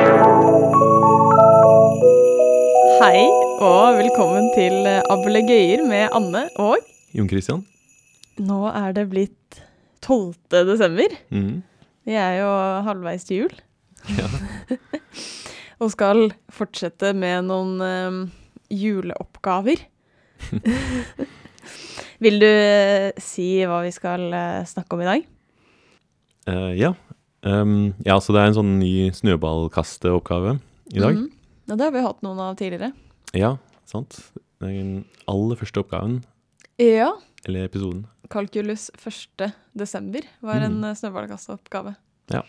eh, Og Jon Christian. nå er det blitt 12. desember. Mhm. Vi er jo halvveis til jul. Ja. Og skal fortsette med noen eh, juleoppgaver. Vil du eh, si hva vi skal eh, snakke om i dag? Eh, ja. Ehm, ja, så det er en sånn ny snøballkasteoppgave i dag. Mhm. Ja, det har vi hatt noen av tidligere. Ja, sant. Det er den aller første oppgaven, Ja. eller episoden. Kalkulus 1. desember var en eh, snøballkasseoppgave. Mm. Ja.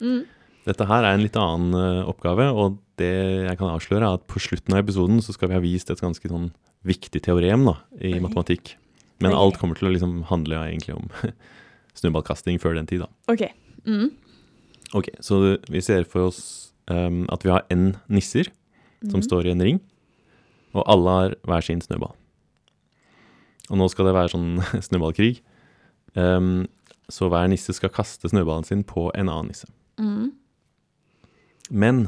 Mm. Dette her er en litt annen eh, oppgave, og det jeg kan avsløre er at på slutten av episoden så skal vi ha vist et ganske sånn viktig teorem da, i Oi. matematikk. Men Oi. alt kommer til å liksom handle egentlig om snøballkasting før den tid da. OK. Mm. Ok, så vi ser for oss ehm, at vi har en nisser som Mhm. står i en ring, og alle har hver sin snøball. Og nå skal det være sånn snøballkrig. Ehm, så hver nisse skal kaste snøballen sin på en annen nisse. Mm. Men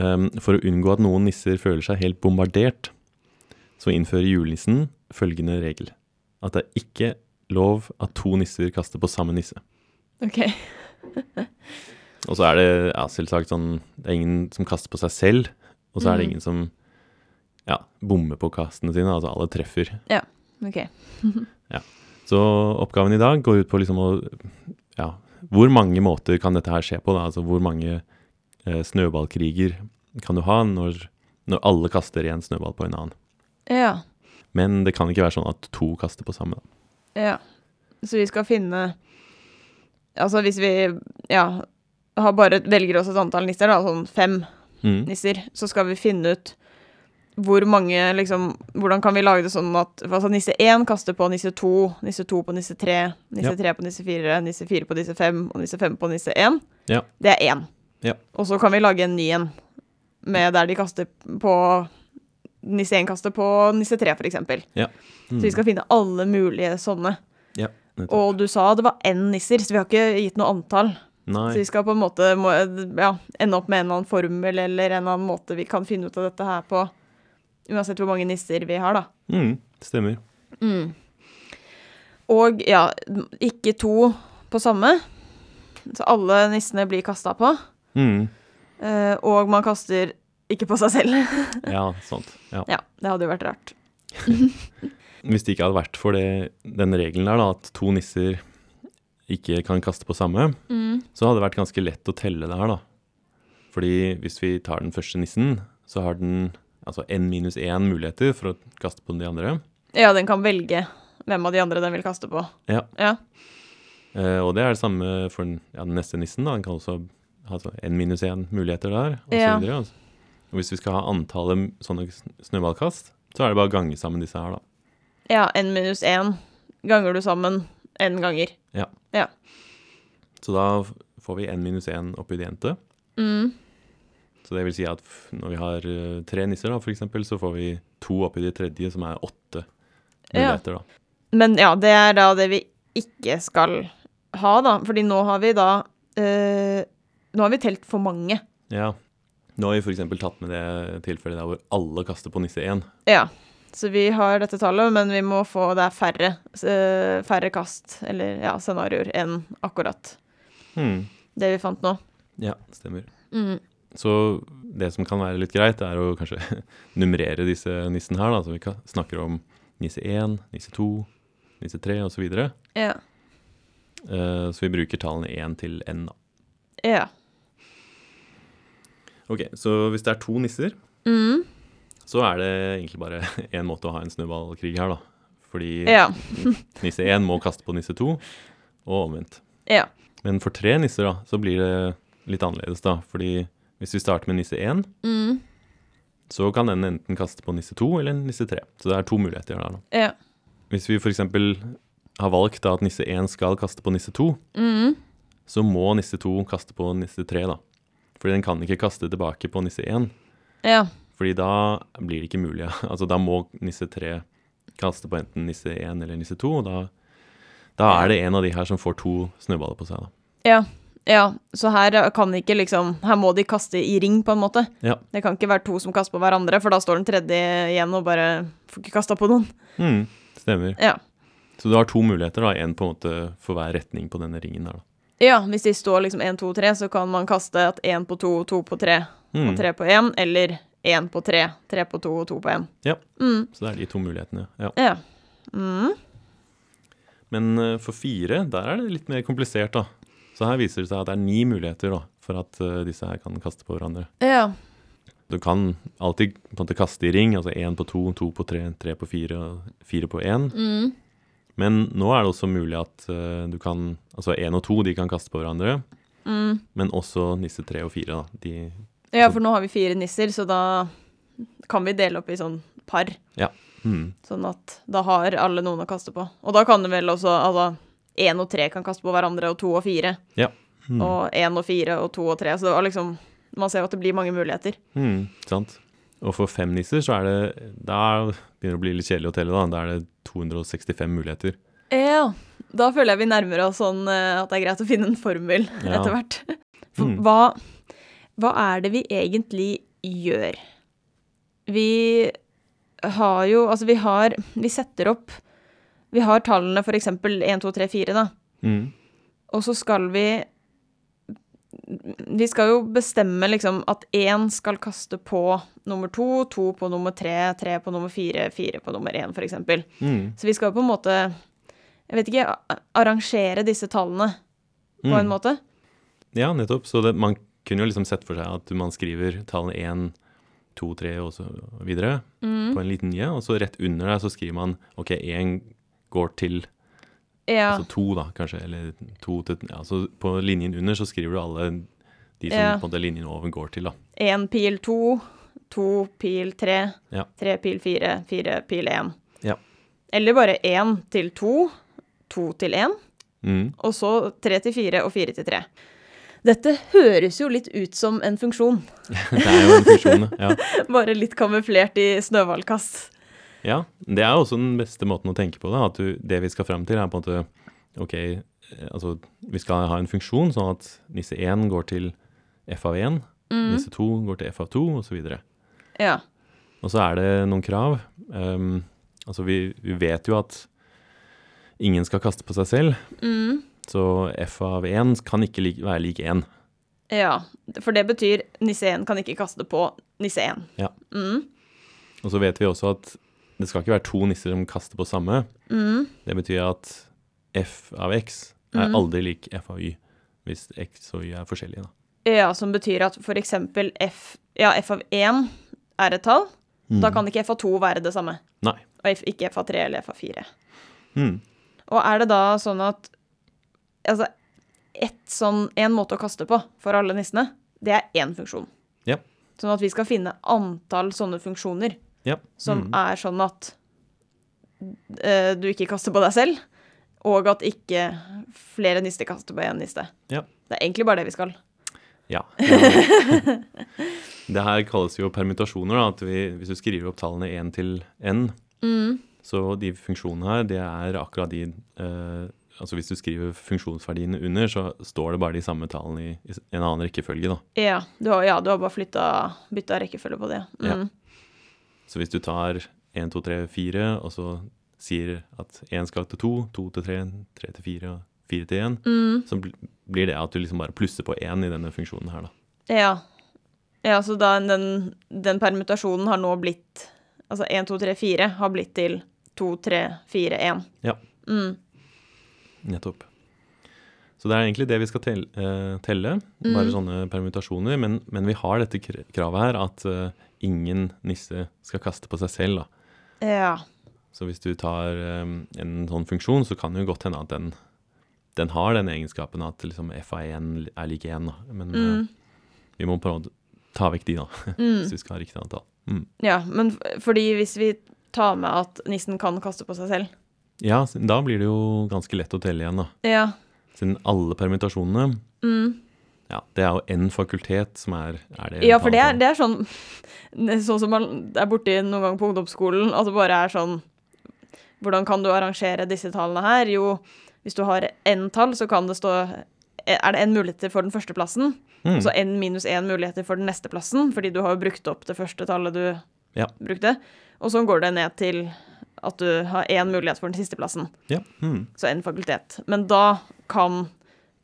ehm, for å unngå at noen nisser føler seg helt bombardert, så innfører julenissen følgende regel. At det er ikke lov at to nisser kaster på samme nisse. OK. Og så er det ja, selvsagt sånn Det er ingen som kaster på seg selv, og så er det Mhm. ingen som ja, bommer på kastene sine. Altså alle treffer. ok. Så oppgaven i dag går ut på liksom å Ja, hvor mange måter kan dette her skje på? da? Altså hvor mange eh, snøballkriger kan du ha når, når alle kaster en snøball på en annen? Ja. Men det kan ikke være sånn at to kaster på samme. Da. Ja. Så vi skal finne Altså hvis vi ja, har bare velger oss et antall nisser, da, sånn fem Mm. nisser, så skal vi finne ut hvor mange liksom, Hvordan kan vi lage det sånn at altså, nisse én kaster på nisse to, nisse to på nisse tre, nisse Ja. tre på nisse fire, nisse fire på nisse fem og nisse fem på nisse én? Ja. Det er én. Ja. Og så kan vi lage en ny en med der de kaster på Nisse én kaster på nisse tre, for eksempel. Mm. Så vi skal finne alle mulige sånne. Nettopp. Og du sa det var én nisser, så vi har ikke gitt noe antall. Så Nei. vi skal på en måte må, ja, ende opp med en eller annen formel eller en eller annen måte vi kan finne ut av dette her på. Uansett hvor mange nisser vi har, da. Mm. Stemmer. Mm. Og ja, ikke to på samme. Så alle nissene blir kasta på. Mm. Eh, og man kaster ikke på seg selv. Ja, sant. Ja. ja, det hadde jo vært rart. Hvis det ikke hadde vært for det, den regelen der, da, at to nisser ikke kan kaste på samme, Mm. så hadde det vært ganske lett å telle det her, da. Fordi hvis vi tar den første nissen, så har den altså n minus én muligheter for å kaste på de andre. Ja, den kan velge hvem av de andre den vil kaste på. Ja. ja. Eh, og det er det samme for den, ja, den neste nissen, da. Den kan også ha altså, n minus én muligheter der, og så Ja. videre. altså. Og hvis vi skal ha antallet m- sånne sn- snøballkast, så er det bare å gange sammen disse her, da. Ja, n minus én ganger du sammen n ganger. Så da f- får vi n minus én oppi det jente. Mm. Så det vil si at f- når vi har eh, tre nisser, da, for eksempel, så får vi to oppi det tredje, som er åtte Ja. muligheter. da. Men ja, det er da det vi ikke skal ha, da. Fordi nå har vi da eh, Nå har vi telt for mange. Ja. Nå har vi for eksempel tatt med det tilfellet der hvor alle kaster på nisse én. Ja. Så vi har dette tallet, men vi må få Det er færre, eh, færre kast, eller ja, scenarioer, enn akkurat det vi fant nå. Ja, stemmer. Mm. Så det som kan være litt greit, er å kanskje nummerere disse nissene her. da, Så vi ka- snakker om nisse én, nisse to, nisse tre osv. Så, videre. Ja. Eh, så vi bruker tallene én til n. da. ja. Ok, Så hvis det er to nisser, Mm. så er det egentlig bare én måte å ha en snøballkrig her, da. Fordi ja. Nisse 1 må kaste på nisse 2, og omvendt. Ja. Men for tre nisser da, så blir det litt annerledes da, fordi hvis vi starter med nisse 1, Mm. så kan den enten kaste på nisse 2 eller nisse 3. Så det er to muligheter der da. Ja. Hvis vi for eksempel har valgt da at nisse 1 skal kaste på nisse 2, Mm. så må nisse 2 kaste på nisse 3 da. Fordi den kan ikke kaste tilbake på nisse 1, Ja. fordi da blir det ikke mulig. Altså da må nisse 3 kaste på enten nisse 1 eller nisse 2, og da, da er det en av de her som får to snøballer på seg da. Ja, Ja, så her kan ikke liksom Her må de kaste i ring, på en måte. Ja. Det kan ikke være to som kaster på hverandre, for da står den tredje igjen og bare får ikke kasta på noen. Mm, stemmer. Ja. Så du har to muligheter, da. Én på en måte for hver retning på denne ringen her, da. ja, hvis de står liksom én, to, tre, så kan man kaste at én på to, to på tre Mm, og tre på én, eller én på tre, tre på to og to på én. Ja. Mm, så det er de to mulighetene, ja. ja. Mm. Men eh, for fire, der er det litt mer komplisert, da. Så her viser det seg at det er ni muligheter da, for at eh, disse her kan kaste på hverandre. ja. Du kan alltid på en måte kaste i ring, altså én på to, to på tre, tre på fire, og fire på én. Mm. Men nå er det også mulig at eh, du kan Altså én og to, de kan kaste på hverandre. Mm. Men også nisse tre og fire, da. De ja, for nå har vi fire nisser, så da kan vi dele opp i sånn par. mm, Sånn at da har alle noen å kaste på. Og da kan det vel også Altså, én og tre kan kaste på hverandre, og to og fire. mm, Og én og fire og to og tre. Så det var liksom Man ser jo at det blir mange muligheter. mm, sant. Og for fem nisser så er det Da begynner det å bli litt kjedelig å telle, da. Da er det 265 muligheter. Ja. Da føler jeg vi nærmer oss sånn eh, at det er greit å finne en formel Ja. etter hvert. For Mm. hva, hva er det vi egentlig gjør? Vi har jo Altså, vi har Vi setter opp Vi har tallene for eksempel 1, 2, 3, 4, da. Mm, Og så skal vi Vi skal jo bestemme liksom at én skal kaste på nummer to, to på nummer tre, tre på nummer fire, fire på nummer én, for eksempel. mm, Så vi skal jo på en måte Jeg vet ikke a- Arrangere disse tallene på en mm. måte. Ja, nettopp. Så det, man kunne jo liksom sett for seg at man skriver tallene 1, 2, 3 og så videre Hmm. på en liten linje, og så rett under der så skriver man OK, 1 går til Ja. altså 2, da, kanskje, eller 2 til Ja, så på linjen under så skriver du alle de som Ja. på en måte linjen over går til, da. Én pil to, to pil tre, Ja. tre pil fire, fire pil én. Ja. Eller bare én til to, to til én. Mm. og så 3 til 4 og 4 til 3. Dette høres jo litt ut som en funksjon, Det er jo en funksjon, ja. bare litt kamuflert i snøhvalkast. ja. Det er også den beste måten å tenke på, da, at du, det vi skal fram til, er på en måte OK, eh, altså vi skal ha en funksjon sånn at nisse 1 går til f av 1, nisse 2 går til f av 2, osv. Ja. Og så er det noen krav. Ehm, altså vi, vi vet jo at ingen skal kaste på seg selv, Mm. så f av 1 kan ikke lik- være lik 1. ja. For det betyr nisse 1 kan ikke kaste på nisse 1. Ja. Mm. Og så vet vi også at det skal ikke være to nisser som kaster på samme. Mm. Det betyr at f av x er Mhm. aldri lik f av y, hvis x og y er forskjellige. Da. Ja, som betyr at for eksempel f, ja, f av 1 er et tall. Mm. Da kan ikke f av 2 være det samme. Nei. Og f, ikke f av 3 eller f av 4. Mm. Og er det da sånn at Altså, ett sånn, en måte å kaste på for alle nissene, det er én funksjon. Ja. Sånn at vi skal finne antall sånne funksjoner Ja. som Mhm. er sånn at eh, du ikke kaster på deg selv, og at ikke flere nister kaster på én niste. Ja. Det er egentlig bare det vi skal. Ja. det her kalles jo permutasjoner. Da, at vi, hvis du skriver opp tallene 1 til n, Så de funksjonene her, det er akkurat de eh, Altså hvis du skriver funksjonsverdiene under, så står det bare de samme tallene i, i en annen rekkefølge, da. Ja, du har, ja, du har bare flytta bytta rekkefølge på det. Ja. Mm. Så hvis du tar 1, 2, 3, 4, og så sier at 1 skal til 2, 2 til 3, 3 til 4 og 4 til 1, Mm. så bl blir det at du liksom bare plusser på 1 i denne funksjonen her, da. Ja. ja så da den, den permutasjonen har nå blitt Altså 1, 2, 3, 4 har blitt til 2, 3, 4, 1. Ja. Mm. Nettopp. Så det er egentlig det vi skal tel eh, telle, bare sånne permutasjoner. Men, men vi har dette kr- kravet her at eh, ingen nisse skal kaste på seg selv, da. Ja. Så hvis du tar um, en sånn funksjon, så kan det jo godt hende at den, den har den egenskapen at liksom f av 1 er lik 1. Da. Men Mm. eh, vi må prøve å ta vekk de, da, Mm. hvis vi skal ha riktig antall. Mm. ja. Men f- fordi hvis vi tar med at nissen kan kaste på seg selv Ja, s- da blir det jo ganske lett å telle igjen, da. Ja. Siden alle permittasjonene Mm. ja, Det er jo én fakultet som er, er det Ja, for det er, antallet. det er sånn Sånn som man er borti noen gang på ungdomsskolen, at det bare er sånn Hvordan kan du arrangere disse tallene her? Jo, hvis du har n tall, så kan det stå er det en muligheter for den første plassen, Mm. så n minus én muligheter for den neste plassen, fordi du har jo brukt opp det første tallet du Ja. brukte. Og sånn går det ned til at du har én mulighet for den siste plassen, Ja. Mm. så en fakultet. Men da kan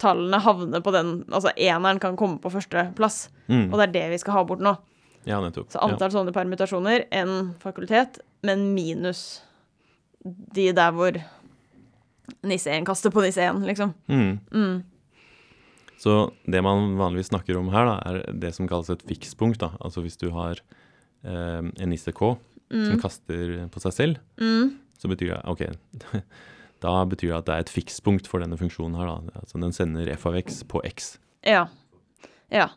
tallene havne på den Altså eneren kan komme på førsteplass, Mm. og det er det vi skal ha bort nå. Ja, nettopp. Så antall sånne permutasjoner, en fakultet, men minus de der hvor nisse 1 kaster på nisse 1, liksom. ja. mm. Så det man vanligvis snakker om her, da, er det som kalles et fikspunkt. Da. Altså hvis du har eh, en nisse K som kaster på seg selv, så betyr det ok, da betyr det at det er et fikspunkt for denne funksjonen her. Da. Altså den sender f av x på x. Ja. Ja.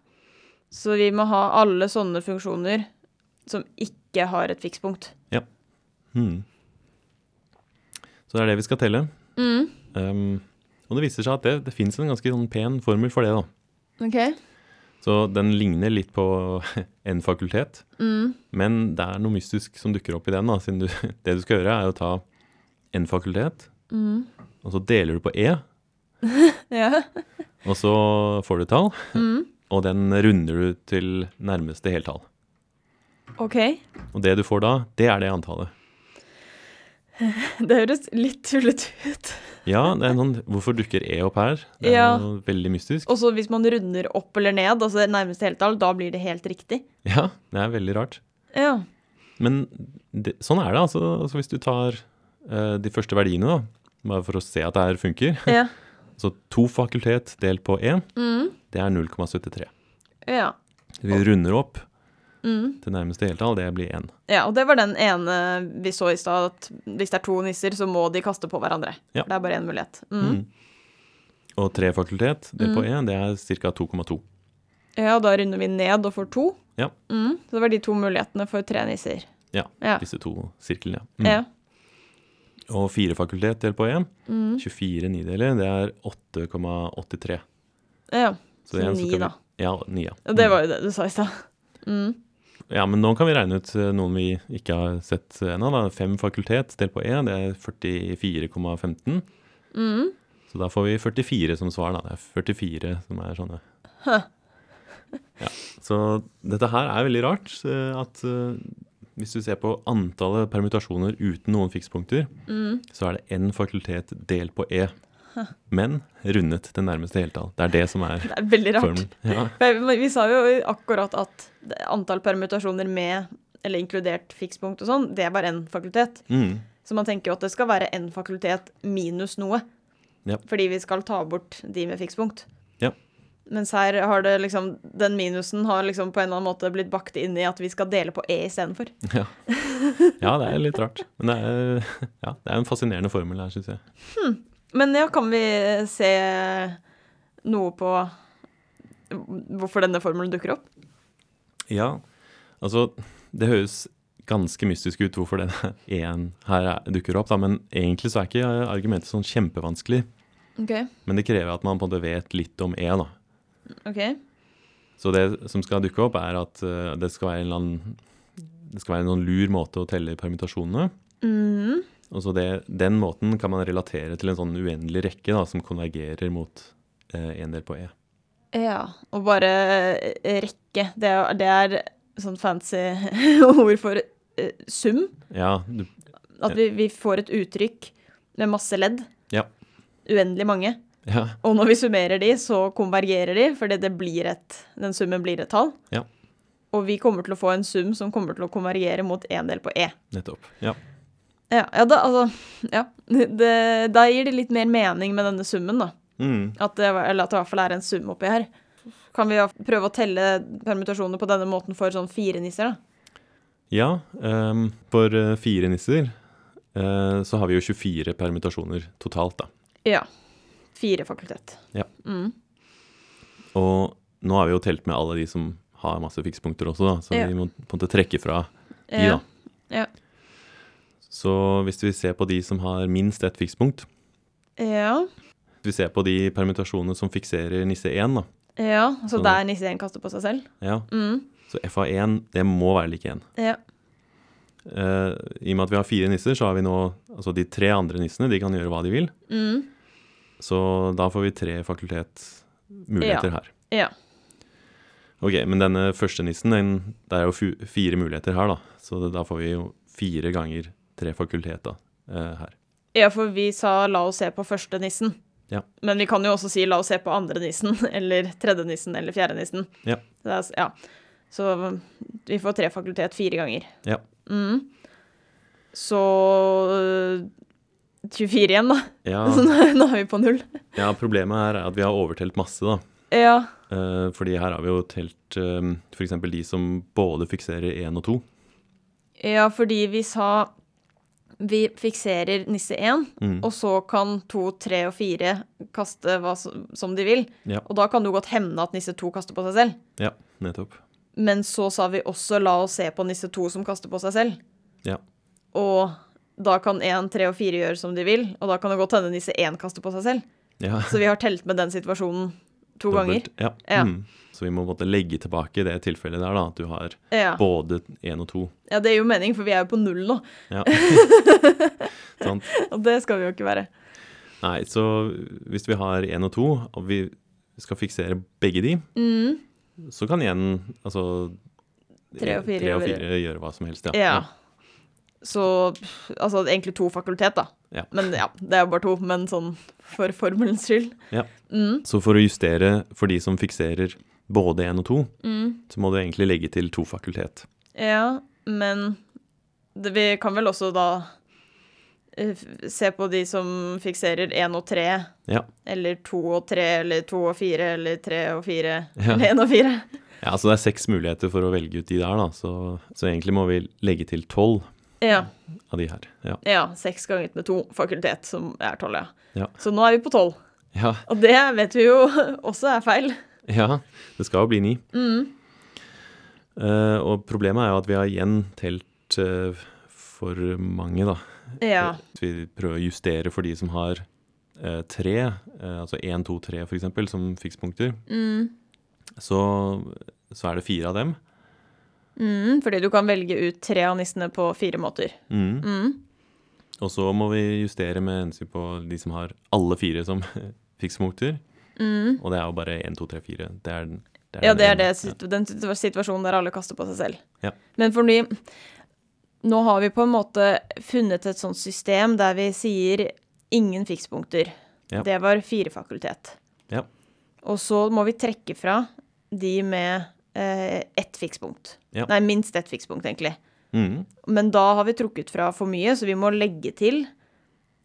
Så vi må ha alle sånne funksjoner som ikke har et fikspunkt. Mm. Så det er det vi skal telle. Um, og det viser seg at det, det fins en ganske sånn pen formel for det. da. OK? Så den ligner litt på en fakultet, men det er noe mystisk som dukker opp i den. da, siden du, Det du skal gjøre, er å ta en fakultet, og så deler du på E, Ja. og så får du et tall, og den runder du til nærmeste heltall. OK. Og det du får da, det er det antallet. Det høres litt tullete ut. Ja, det er noen, hvorfor dukker E opp her? Det er Ja. noe veldig mystisk. Og så hvis man runder opp eller ned, altså det nærmeste heltall, da blir det helt riktig. Ja, det er veldig rart. Ja. Men det, sånn er det, altså. altså hvis du tar eh, de første verdiene, da, bare for å se at det her funker. Ja. Så to fakultet delt på én, Mm. det er 0,73. ja. Mm. Vi runder opp til nærmeste heltall, det blir én. Ja, og det var den ene vi så i stad, at hvis det er to nisser, så må de kaste på hverandre. Ja. For det er bare én mulighet. Mm. Og tre fakultet delt på én, det er ca. 2,2. Ja, og da runder vi ned og får to. Ja. Mm. Så det var de to mulighetene for tre nisser. Ja, Ja. disse to sirklene. ja. Mm. Ja. Og fire fakultet delt på én, Mm. 24 nideler, det er 8,83. ja. Så det er en som ni, skal da. bli- Mm. Ja, ni, ja. Og det var jo det du sa i stad. Mm. Ja, men nå kan vi regne ut eh, noen vi ikke har sett eh, ennå. da. Fem fakultet delt på E, det er 44,15. Så da får vi 44 som svar, da. Det er 44 som er sånne. Ja, så dette her er veldig rart. eh, At eh, hvis du ser på antallet permutasjoner uten noen fikspunkter, så er det én fakultet delt på E. Men rundet til nærmeste heltall. Det er det som er Det er veldig rart. formelen. Ja. For Vi, vi sa jo akkurat at det- antall permutasjoner med, eller inkludert fikspunkt og sånn, det var én fakultet. Mm. Så man tenker jo at det skal være én fakultet minus noe. Ja. Fordi vi skal ta bort de med fikspunkt. Ja. Mens her har det liksom Den minusen har liksom på en eller annen måte blitt bakt inn i at vi skal dele på E istedenfor. Ja. ja, det er litt rart. Men det er, ja, det er en fascinerende formel her, syns jeg. Men ja, kan vi se noe på hvorfor denne formelen dukker opp? Ja, altså det høres ganske mystisk ut hvorfor den én her er- dukker opp, da, men egentlig så er ikke argumentet sånn kjempevanskelig. OK. Men det krever at man på en måte vet litt om E, da. ok. Så det som skal dukke opp, er at eh, det skal være en eller annen det skal være en sånn lur måte å telle permutasjonene. Mhm. Og så det, Den måten kan man relatere til en sånn uendelig rekke da, som konvergerer mot eh, en del på E. Ja. Og bare eh, rekke. Det er, det er sånn fancy ord for eh, sum. Ja, du, At vi, vi får et uttrykk med masse ledd. Ja. Uendelig mange. ja. Og når vi summerer de, så konvergerer de, fordi det blir et, den summen blir et tall. Ja. Og vi kommer til å få en sum som kommer til å konvergere mot en del på E. Nettopp. Ja. Ja, ja da, altså Ja. Det, da gir det litt mer mening med denne summen, da. Mm. At det, eller at det i hvert fall er en sum oppi her. Kan vi da prøve å telle permutasjoner på denne måten for sånn fire nisser, da? Ja, ehm, for eh, fire nisser eh, så har vi jo 24 permutasjoner totalt, da. Ja. Fire fakultet. Mm. Og nå har vi jo telt med alle de som har masse fikspunkter også, da, så Ja. vi må på en måte trekke fra de, Ja. da. Ja. Så hvis vi ser på de som har minst ett fikspunkt, Eh, Ja. hvis vi ser på de permutasjonene som fikserer nisse 1, da, ja. Så Sånn. der nisse 1 kaster på seg selv? ja, Mm. så f av 1, det må være lik 1. Ja. Eh, I og med at vi har fire nisser, så har vi nå altså de tre andre nissene, de kan gjøre hva de vil. Mm. Så da får vi tre fakultet muligheter her. Ja. Ok, men denne første nissen, den, det er jo fu- fire muligheter her, da. Så det, da får vi jo fire ganger tre fakulteter eh, her. Ja, for vi sa 'la oss se på første nissen'. Ja. Men vi kan jo også si 'la oss se på andre nissen', eller tredje nissen, eller fjerde nissen. Ja. Så, det er, s- ja. Så mm, vi får tre fakultet fire ganger. Ja. Mm. Så øh, 24 igjen, da. Ja, Så nå nå er vi på null. ja, problemet her er at vi har overtelt masse, da. Ja. Eh, fordi her har vi jo telt eh, f.eks. de som både fikserer én og to. ja, fordi vi sa vi fikserer nisse 1, Mm. og så kan 2, 3 og 4 kaste hva som som de vil. Ja. Og da kan du godt hevne at nisse 2 kaster på seg selv. Ja, nettopp. Men så sa vi også la oss se på nisse to som kaster på seg selv. Ja. Og da kan én, tre og fire gjøre som de vil, og da kan det godt hende nisse én kaster på seg selv. Ja, Så vi har telt med den situasjonen to ganger. dobbelt. Ja. Ja. Mm. Så vi må måtte legge tilbake det tilfellet der, da. At du har Ja. både én og to. ja, det gir jo mening, for vi er jo på null nå, Ja. Sant. og det skal vi jo ikke være. Nei, så hvis vi har én og to, og vi skal fiksere begge de, Mm. så kan igjen altså Tre og fire tre og gjøre- fire gjøre hva som helst. Ja. Så pff, altså egentlig to fakultet, da. Ja. Men ja, det er jo bare to, men sånn for formelens skyld. Ja. Mm. Så for å justere for de som fikserer både én og to, så må du egentlig legge til to fakultet. mm. Ja, men det, vi kan vel også da eh, f- se på de som fikserer én og tre, Ja. eller to og tre, eller to og fire, eller tre og fire, Ja. eller én og fire. ja, så det er seks muligheter for å velge ut de der, da. Så, så egentlig må vi legge til tolv Ja, Mm. av de her. Ja. ja. Seks ganget med to fakultet, som er tolv, ja. Ja. Så nå er vi på tolv. ja. Og det vet vi jo også er feil. Ja, det skal jo bli ni. Mm. Eh, og problemet er jo at vi har igjen telt eh, for mange, da. Ja. At Vi prøver å justere for de som har eh, tre, eh, altså én, to, tre f.eks., som fikspunkter. Så, så er det fire av dem. Mm, fordi du kan velge ut tre av nissene på fire måter. Mm. Mm. Og så må vi justere med hensyn på de som har alle fire som fikspunkter. Mm. Og det er jo bare én, to, tre, fire. Det er, den- det Ja, det er den det, ene. situ- den situ- situasjonen der alle kaster på seg selv. Ja. Men fordi nå har vi på en måte funnet et sånt system der vi sier ingen fikspunkter. Ja. Det var fire fakultet. Ja. Og så må vi trekke fra de med eh, ett fikspunkt. Ja. Nei, minst ett fikspunkt, egentlig. Mm. Men da har vi trukket fra for mye, så vi må legge til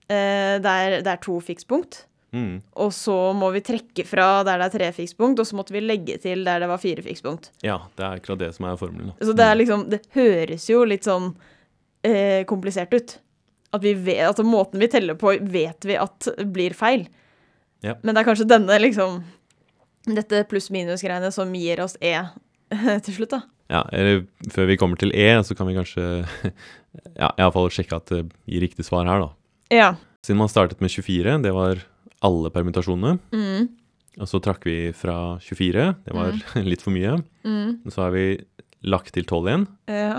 eh, der det er to fikspunkt. Mm. Og så må vi trekke fra der det er tre fikspunkt, og så måtte vi legge til der det var fire fikspunkt. Ja, det er akkurat det som er formelen. da. Så det er liksom Det høres jo litt sånn eh, komplisert ut. At vi vet, altså måten vi teller på, vet vi at blir feil. Ja. Men det er kanskje denne liksom Dette pluss-minus-greiene som gir oss E til slutt, da. Ja, eller før vi kommer til E, så kan vi kanskje ja, i alle fall sjekke at det gir riktig svar her, da. Ja. Siden man startet med 24, det var alle permutasjonene, Mm, og så trakk vi fra 24, det var litt for mye. mm, Så har vi lagt til 12 igjen, ja.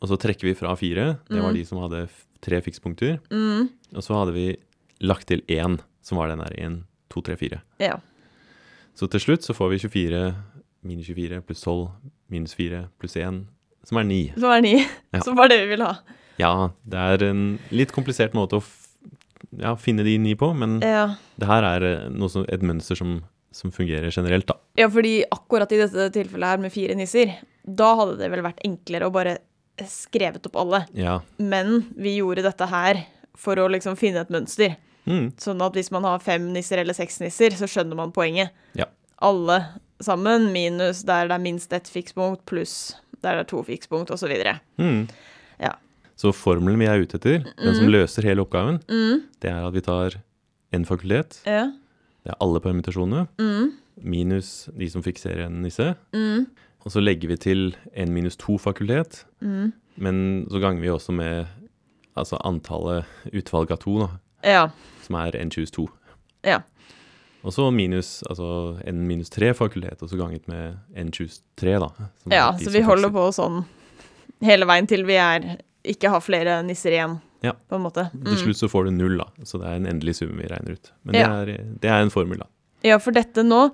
og så trekker vi fra 4, det var de som hadde f- tre fikspunkter. Mm, Og så hadde vi lagt til 1, som var den der 1, 2, 3, 4. ja. Så til slutt så får vi 24 minus 24 pluss 12 minus 4 pluss 1, som er 9. Som er ni. Ja. Som var det vi ville ha. Ja, det er en litt komplisert måte å f ja, finne de ni på, men Ja. det her er eh, noe som, et mønster som, som fungerer generelt, da. Ja, fordi akkurat i dette tilfellet her med fire nisser, da hadde det vel vært enklere å bare skrevet opp alle. Ja. Men vi gjorde dette her for å liksom finne et mønster. Mm. Sånn at hvis man har fem nisser eller seks nisser, så skjønner man poenget. Ja. Alle sammen, minus der det er minst ett fikspunkt, pluss der det er to fikspunkt, osv. Mm. Ja. Mm. Så formelen vi er ute etter, den som løser hele oppgaven, det er at vi tar en fakultet, Ja. det er alle permutasjonene, Mm. minus de som fikserer en nisse, Mm. og så legger vi til en minus to fakultet, Mm. men så ganger vi også med altså antallet utvalg av to, da, Ja. som er n choose 2. Ja. Og så minus, altså n minus 3 fakultet, og så ganget med n choose 3, da. som er ja. de Så som vi holder fikser. på sånn hele veien til vi er ikke har flere nisser igjen, Ja. på en måte. Mm. Til slutt så får du null, da. Så det er en endelig sum vi regner ut. Men Ja. det, er, det er en formel, da. Ja, for dette nå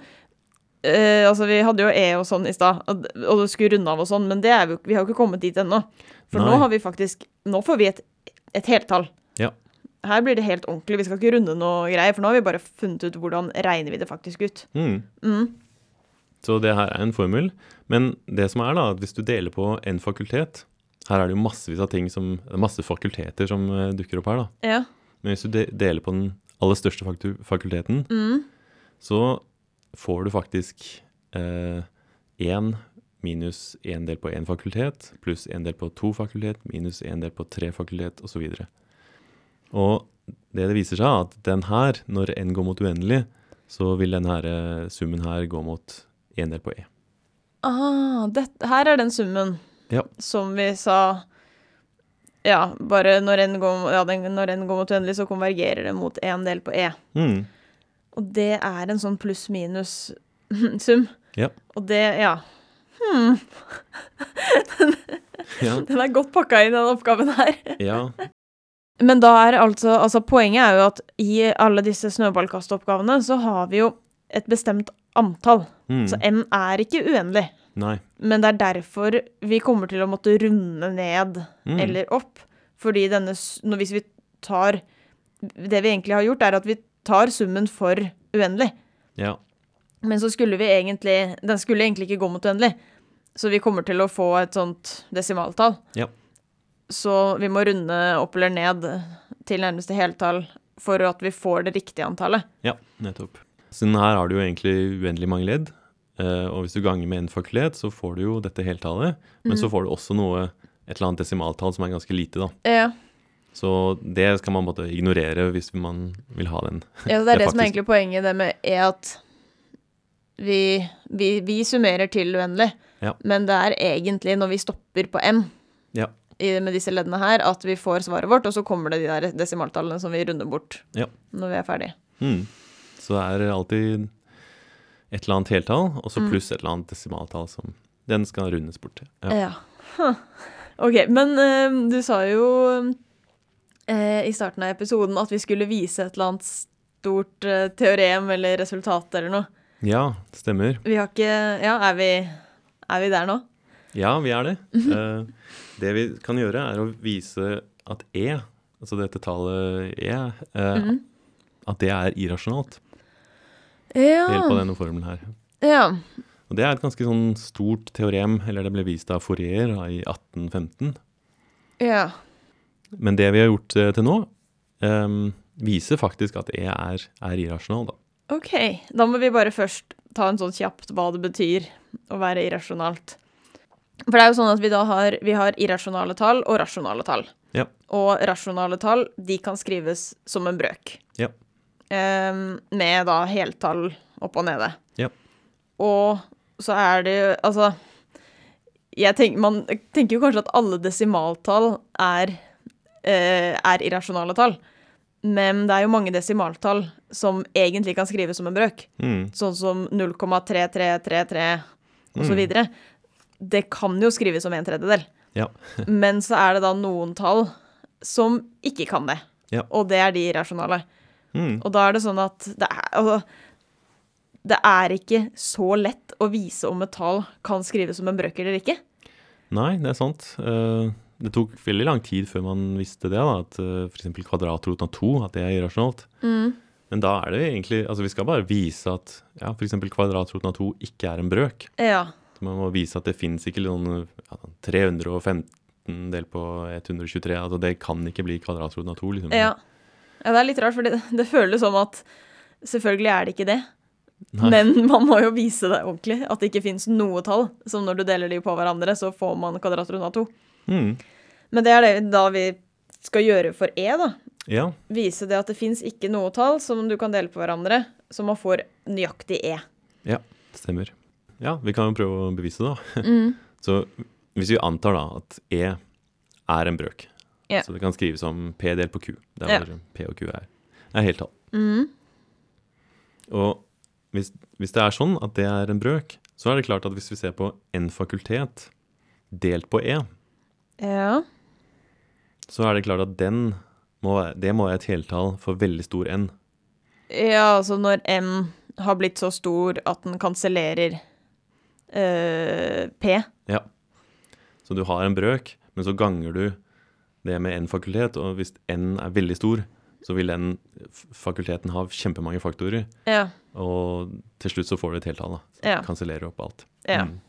eh, altså Vi hadde jo E og sånn i stad, og d- og du skulle runde av og sånn, men det er vi, jo- vi har jo ikke kommet dit ennå. For Nei. nå har vi faktisk Nå får vi et, et heltall. Ja. Her blir det helt ordentlig. Vi skal ikke runde noe greier, for nå har vi bare funnet ut hvordan regner vi det faktisk ut. Mm. Mm. Så det her er en formel. Men det som er da, at hvis du deler på en fakultet Her er det jo massevis av ting som, masse fakulteter som eh, dukker opp her. da. Ja. Men hvis du de deler på den aller største faktu fakulteten, Mm. så får du faktisk én minus én del på én fakultet, pluss én del på to fakultet, minus én del på tre fakultet, osv. Og, så og det det viser seg, er at den her, når n går mot uendelig, så vil denne her, eh, summen her gå mot én del på e. Ah, det, her er den summen Ja. som vi sa Ja, bare når n går, ja, den, når n går mot uendelig, så konvergerer det mot en del på e. Mm. Og det er en sånn pluss-minus-sum. Ja. Og det, ja. Hmm, Ja, Den er godt pakka inn, den oppgaven her. ja. Men da er altså, altså Poenget er jo at i alle disse snøballkastoppgavene så har vi jo et bestemt antall. Mm. Så e n er ikke uendelig. Nei. Men det er derfor vi kommer til å måtte runde ned Mm. eller opp. Fordi denne s- nå Hvis vi tar Det vi egentlig har gjort, er at vi tar summen for uendelig. Ja. Men så skulle vi egentlig Den skulle egentlig ikke gå mot uendelig. Så vi kommer til å få et sånt desimaltall. Ja. Så vi må runde opp eller ned til nærmeste heltall for at vi får det riktige antallet. ja, nettopp. Så den her har du jo egentlig uendelig mange ledd. eh, og hvis du ganger med en fakultet, så får du jo dette heltallet. Men så får du også noe, et eller annet desimaltall som er ganske lite, da. Ja, Så det skal man måtte ignorere hvis man vil ha den. ja så Det det er er det, som er faktisk- egentlig poenget det med er at vi, vi, vi summerer til uendelig. Ja. Men det er egentlig når vi stopper på n Ja. i, med disse leddene her, at vi får svaret vårt, og så kommer det de der desimaltallene som vi runder bort Ja. når vi er ferdig. Mm. Så det er alltid et eller annet heltall, og så pluss et eller annet desimaltall som den skal rundes bort til. Ja. Ja. Huh. Ok, men eh, du sa jo eh, i starten av episoden at vi skulle vise et eller annet stort eh, teorem eller resultat eller noe. ja, stemmer. Vi har ikke Ja, er vi, er vi der nå? Ja, vi er det. Eh, det vi kan gjøre, er å vise at E, altså dette tallet E, eh, at det er irrasjonalt. Helt på Ja. denne formelen her. ja. Og det er et ganske sånn stort teorem, eller det ble vist av Fourier da, i 1815. Ja. Men det vi har gjort eh, til nå, eh, viser faktisk at E er, er irrasjonal, da. OK. Da må vi bare først ta en sånn kjapt hva det betyr å være irrasjonalt. For det er jo sånn at vi da har, vi har irrasjonale tall og rasjonale tall. Ja. Og rasjonale tall, de kan skrives som en brøk. Ja. Ehm, med da heltall opp og nede. Ja. Og så er det jo Altså jeg tenk, Man tenker jo kanskje at alle desimaltall er, eh, er irrasjonale tall. Men det er jo mange desimaltall som egentlig kan skrives som en brøk. Mm. Sånn som 0,3333 osv. Mm. videre. Det kan jo skrives som en tredjedel. Ja. Men så er det da noen tall som ikke kan det. Ja. Og det er de irrasjonale. Mm. Og da er det sånn at det er, altså, det er ikke så lett å vise om et tall kan skrives som en brøk eller ikke. Nei, det er sant. Eh, det tok veldig lang tid før man visste det, da, at eh, for f.eks. kvadratroten av 2, at det er irrasjonalt. Mm. Men da er det egentlig Altså, vi skal bare vise at ja, f.eks. kvadratroten av 2 ikke er en brøk. Ja. Så man må vise at det fins ikke noen ja, 315 del på 123. Altså, det kan ikke bli kvadratroten av 2, liksom. ja. Ja, det er litt rart, for det, det føles som at selvfølgelig er det ikke det. Nei. Men man må jo vise det ordentlig, at det ikke fins noe tall. Som når du deler de på hverandre, så får man kvadratrund av to. Mm. Men det er det da vi skal gjøre for E, da. Ja. Vise det at det fins ikke noe tall som du kan dele på hverandre, så man får nøyaktig E. Ja, stemmer. Ja, vi kan jo prøve å bevise det, da. Mm. Så hvis vi antar da at E er en brøk, Ja. så det kan skrives som P delt på Q, der Ja. hvor P og Q er, er heltall. Mm. Og hvis, hvis det er sånn at det er en brøk, så er det klart at hvis vi ser på en fakultet delt på E, Ja. så er det klart at den må være, det må være et heltall for veldig stor N. Ja, altså når M har blitt så stor at den kansellerer eh, P. Ja. Så du har en brøk, men så ganger du det med en fakultet, og hvis n er veldig stor, så vil den f- fakulteten ha kjempemange faktorer, Ja. og til slutt så får du et heltall, da. Så Ja. Kansellerer opp alt. Ja. Mm.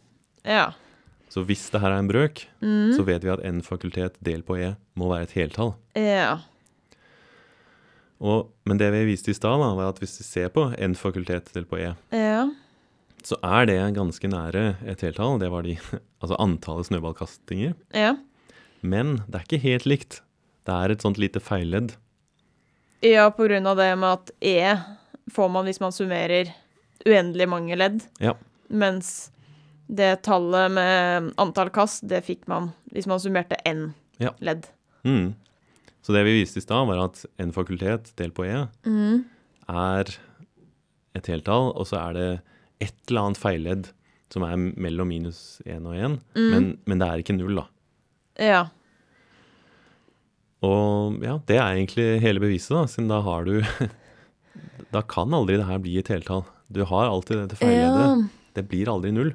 ja. Så hvis det her er en brøk, Mm. så vet vi at n fakultet del på e må være et heltall. ja. Og, men det vi viste i stad, da, var at hvis vi ser på n fakultet del på e, Ja. så er det ganske nære et heltall. Det var de, altså antallet snøballkastinger. Ja. Men det er ikke helt likt. Det er et sånt lite feilledd. ja, på grunn av det med at E får man hvis man summerer uendelig mange ledd, Ja. mens det tallet med antall kast, det fikk man hvis man summerte N Ja. ledd. Mm. Så det vi viste i stad, var at en fakultet delt på E Mm. er et heltall, og så er det et eller annet feilledd som er mellom minus 1 og 1, men, men det er ikke null, da. Ja. Og ja, det er egentlig hele beviset, da, siden da har du Da kan aldri det her bli et heltall. Du har alltid dette feilleddet. Det blir aldri null.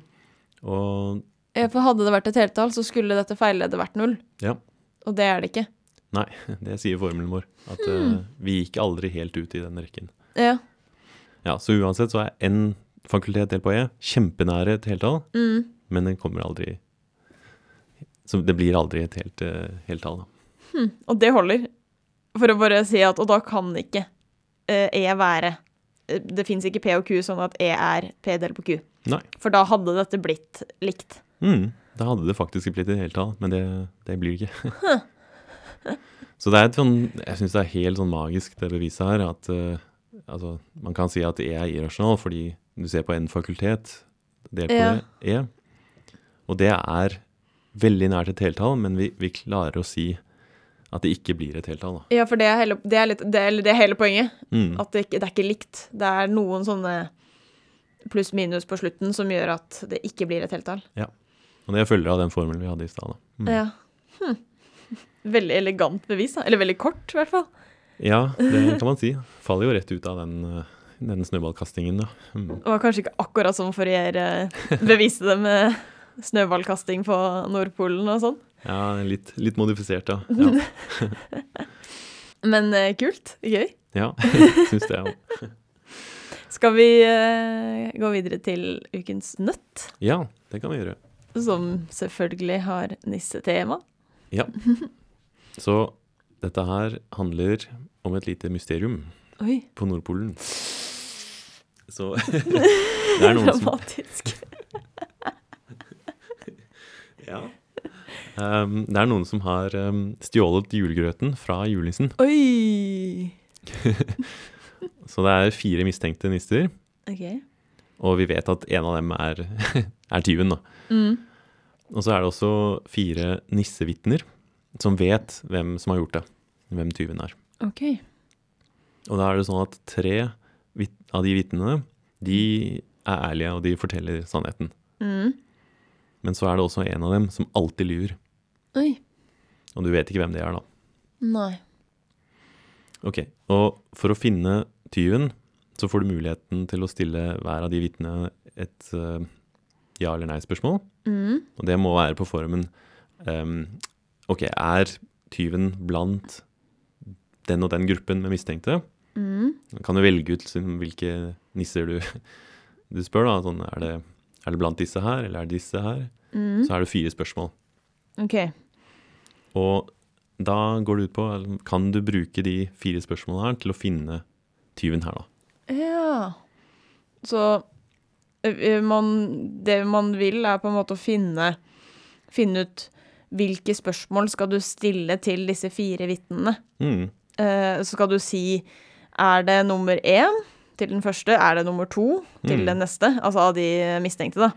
Og Ja, for hadde det vært et heltall, så skulle dette feilleddet vært null. Ja. Og det er det ikke. Nei, det sier formelen vår. At eh, vi gikk aldri helt ut i den rekken. Ja. Ja, Så uansett så er N fakultet delt på E kjempenære et heltall, Mm. men den kommer aldri Så det blir aldri et helt eh, heltall, da. Og det holder. For å bare si at Og da kan ikke eh, E være eh, Det fins ikke P og Q sånn at E er P delt på Q. Nei. For da hadde dette blitt likt. Mm, da hadde det faktisk blitt et heltall, men det, det blir det ikke. så det er et sånn Jeg syns det er helt sånn magisk, det beviset her, at eh, altså Man kan si at E er irrasjonal fordi du ser på N fakultet, delt på Ja. E, og det er veldig nært et heltall, men vi, vi klarer å si at det ikke blir et heltall, da. Ja, for det er hele, det er litt, det er, det er hele poenget. Mm. At det, ikke- det er ikke likt. Det er noen sånne pluss-minus på slutten som gjør at det ikke blir et heltall. Og det følger av den formelen vi hadde i stad, da. Mm. Ja. Hm. Veldig elegant bevis, da. Eller veldig kort, i hvert fall. Ja, det kan man si. Faller jo rett ut av den, eh, den snøballkastingen, da. Mm. Det var kanskje ikke akkurat sånn Fourier eh, beviste det med snøballkasting på Nordpolen og sånn. Ja, litt, litt modifisert, ja. ja. Men eh, kult. Gøy. Ja, syns det. Ja. Skal vi eh, gå videre til ukens nøtt, ja, det kan vi gjøre. som selvfølgelig har nissetema? Ja. Så dette her handler om et lite mysterium Oi, på Nordpolen. Så det er noen som dramatisk. ja. um, Det er noen som har um, stjålet julegrøten fra julenissen. Oi! Så det er fire mistenkte nisser, OK. og vi vet at en av dem er, er tyven, da. Mm. Og så er det også fire nissevitner som vet hvem som har gjort det. Hvem tyven er. OK. Og da er det sånn at tre vit- av de vitnene, de er ærlige, og de forteller sannheten. Mm. Men så er det også en av dem som alltid lyver, Oi. og du vet ikke hvem det er da. Nei. Ok, og for å finne tyven, så får du muligheten til å stille hver av de vitnene et eh, ja- eller nei-spørsmål, Mm. og det må være på formen ehm, Ok, er tyven blant den og den gruppen med mistenkte? Mm. Da kan du velge ut liksom, hvilke nisser du, du spør. da, sånn, er, det, er det blant disse her, eller er det disse her? Mm. Så er det fire spørsmål. OK. Og da går det ut på eller, kan du bruke de fire spørsmålene her til å finne tyven her, da. Ja. Så ø, ø, man, det man vil, er på en måte å finne, finne ut hvilke spørsmål skal du stille til disse fire vitnene. Mm. Eh, så skal du si er det nummer én til den første, er det nummer to til Mm. den neste? Altså av de mistenkte, da.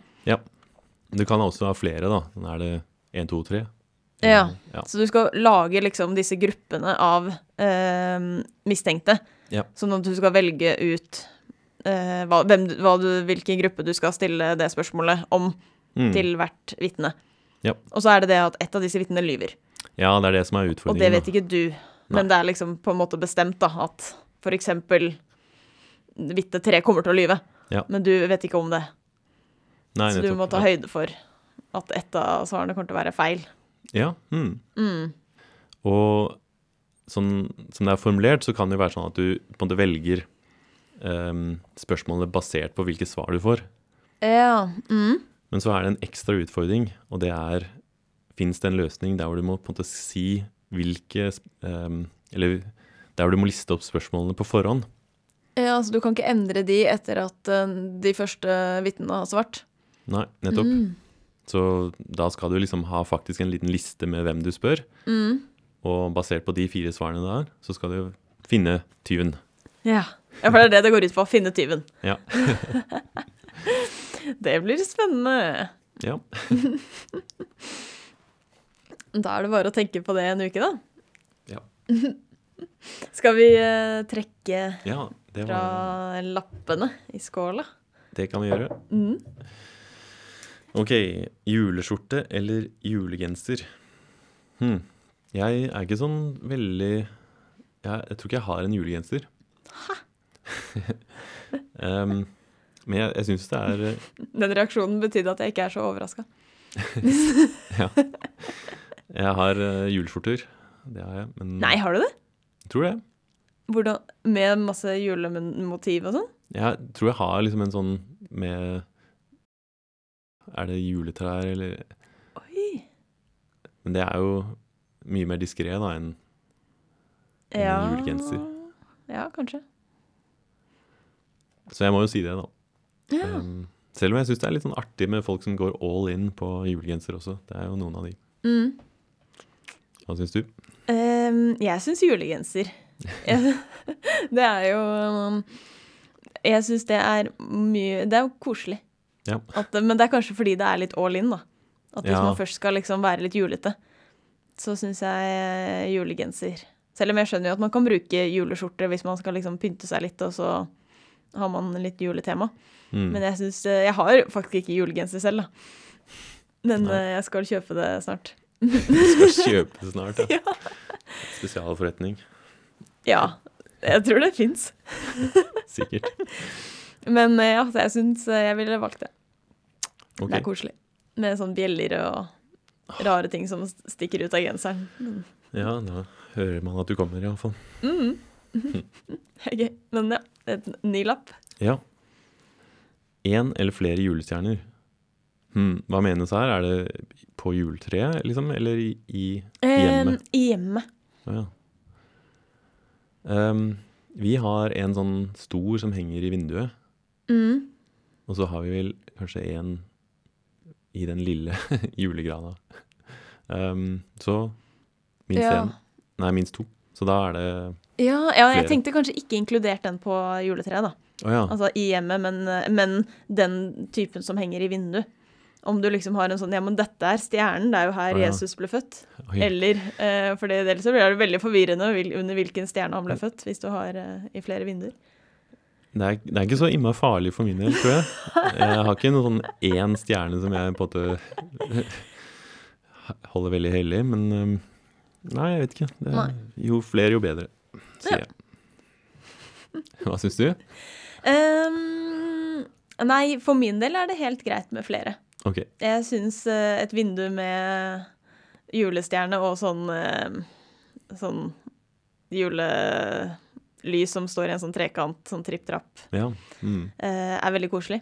Du kan også ha flere, da. Sånn, Er det én, to, tre? Ja. ja. Så du skal lage liksom disse gruppene av eh, mistenkte. Ja. Sånn at du skal velge ut eh, hva, hvem, du- hva du, hvilken gruppe du skal stille det spørsmålet om. Mm. til hvert vitne. Ja. Og så er det det at ett av disse vitnene lyver. ja, det er det som er Og det utfordringen. vet ikke du, men det er liksom på en måte bestemt, da, at for eksempel hvite tre kommer til å lyve. Ja. Men du vet ikke om det, Nei, så du nettopp. må ta høyde for at ett av svarene kommer til å være feil. Ja. Mm. Mm. Og sånn som det er formulert, så kan det jo være sånn at du på en måte velger ehm, spørsmålet basert på hvilke svar du får. Ja. Mm. Men så er det en ekstra utfordring, og det er Fins det en løsning der hvor du må på en måte si hvilke sp- ehm, Eller der hvor du må liste opp spørsmålene på forhånd. ja, altså du kan ikke endre de etter at eh, de første vitnene har svart. Nei, Mm. nettopp. Så da skal du liksom ha faktisk en liten liste med hvem du spør. Mm. Og basert på de fire svarene der, så skal du finne tyven. Ja. ja, for det er det det går ut på. Finne tyven. Ja. det blir spennende. Ja. Da er det bare å tenke på det en uke, da. Ja. Skal vi eh, trekke ja det, var, fra lappene i skåla? det kan vi gjøre. Mm. Ok, juleskjorte eller julegenser? Hm. Jeg er ikke sånn veldig jeg, jeg tror ikke jeg har en julegenser. Em, men jeg, jeg syns det er eh, Den reaksjonen betydde at jeg ikke er så overraska. Jeg har eh, juleskjorter. Det har jeg. Men Nei, har du det? jeg tror det. Hvordan, med masse julemotiv og sånn? Jeg tror jeg har liksom en sånn med Er det juletrær, eller Oi. Men det er jo mye mer diskré da enn En Ja. julegenser. Ja, kanskje. Så jeg må jo si det, da. Ja. Um, selv om jeg syns det er litt sånn artig med folk som går all in på julegenser også. Det er jo noen av de. Mm. Hva syns du? Ehm, jeg syns julegenser. Jeg- det er jo um, Jeg syns det er mye Det er jo koselig. Ja. At, det- men det er kanskje fordi det er litt all in, da. At hvis Ja. man først skal liksom være litt julete, så syns jeg eh, julegenser Selv om jeg skjønner jo at man kan bruke juleskjorte hvis man skal liksom pynte seg litt, og så har man litt juletema. Mm. Men jeg syns eh, Jeg har faktisk ikke julegenser selv, da. Men Nei. eh, jeg skal kjøpe det snart. Skal kjøpe det snart, ja. Spesialforretning. Ja. Jeg tror det fins. Sikkert. Men eh, ja, så jeg syns eh, jeg ville valgt det. Ok. Det er koselig. Med sånn bjeller og rare ting som st- stikker ut av genseren. Ja, da hører man at du kommer, iallfall. Mm. Det er gøy. Men ja, et ny lapp. Ja. Én eller flere julestjerner. Hm, hva menes her? Er det på juletreet, liksom? Eller i, i Hjemme. Eh, hjemme. Å ja. Ehm, vi har en sånn stor som henger i vinduet, Mm. og så har vi vel kanskje en i den lille julegrana. Ehm, så minst Ja. én. Nei, minst to. Så da er det Ja, ja, jeg Flere. tenkte kanskje ikke inkludert den på juletreet, da. Å ja. Altså i hjemmet, men, eh, men den typen som henger i vinduet. Om du liksom har en sånn Ja, men dette er stjernen, det er jo her Å ja. Jesus ble født. Oi. Eller, eh, for det- ellers så blir det veldig forvirrende hvil- under hvilken stjerne han ble født, hvis du har eh, i flere vinduer. Det er, det er ikke så innmari farlig for min del, tror jeg. Jeg har ikke noen sånn én stjerne som jeg på en måte holder veldig hellig, men um, Nei, jeg vet ikke. Det er, jo flere, jo bedre, sier jeg. Hva syns du? Ehm, nei, for min del er det helt greit med flere. Ok. Jeg syns eh, et vindu med julestjerne og sånn eh, Sånn julelys som står i en sånn trekant, sånn tripp-trapp, Ja. Mm. eh, er veldig koselig.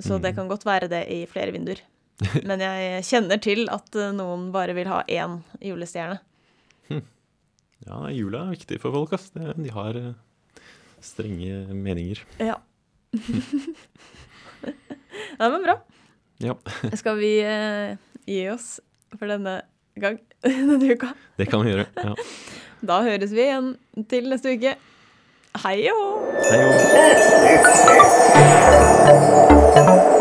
Så det Mm. kan godt være det i flere vinduer. Men jeg kjenner til at eh, noen bare vil ha én julestjerne. Ja, nei, jula er viktig for folk, ass. Det, de har eh, strenge meninger. Ja. Nei, men bra. Ja. Skal vi eh, gi oss for denne gang denne uka? Det kan vi gjøre. Ja. Da høres vi igjen til neste uke. Hei og hå! Hei, jo.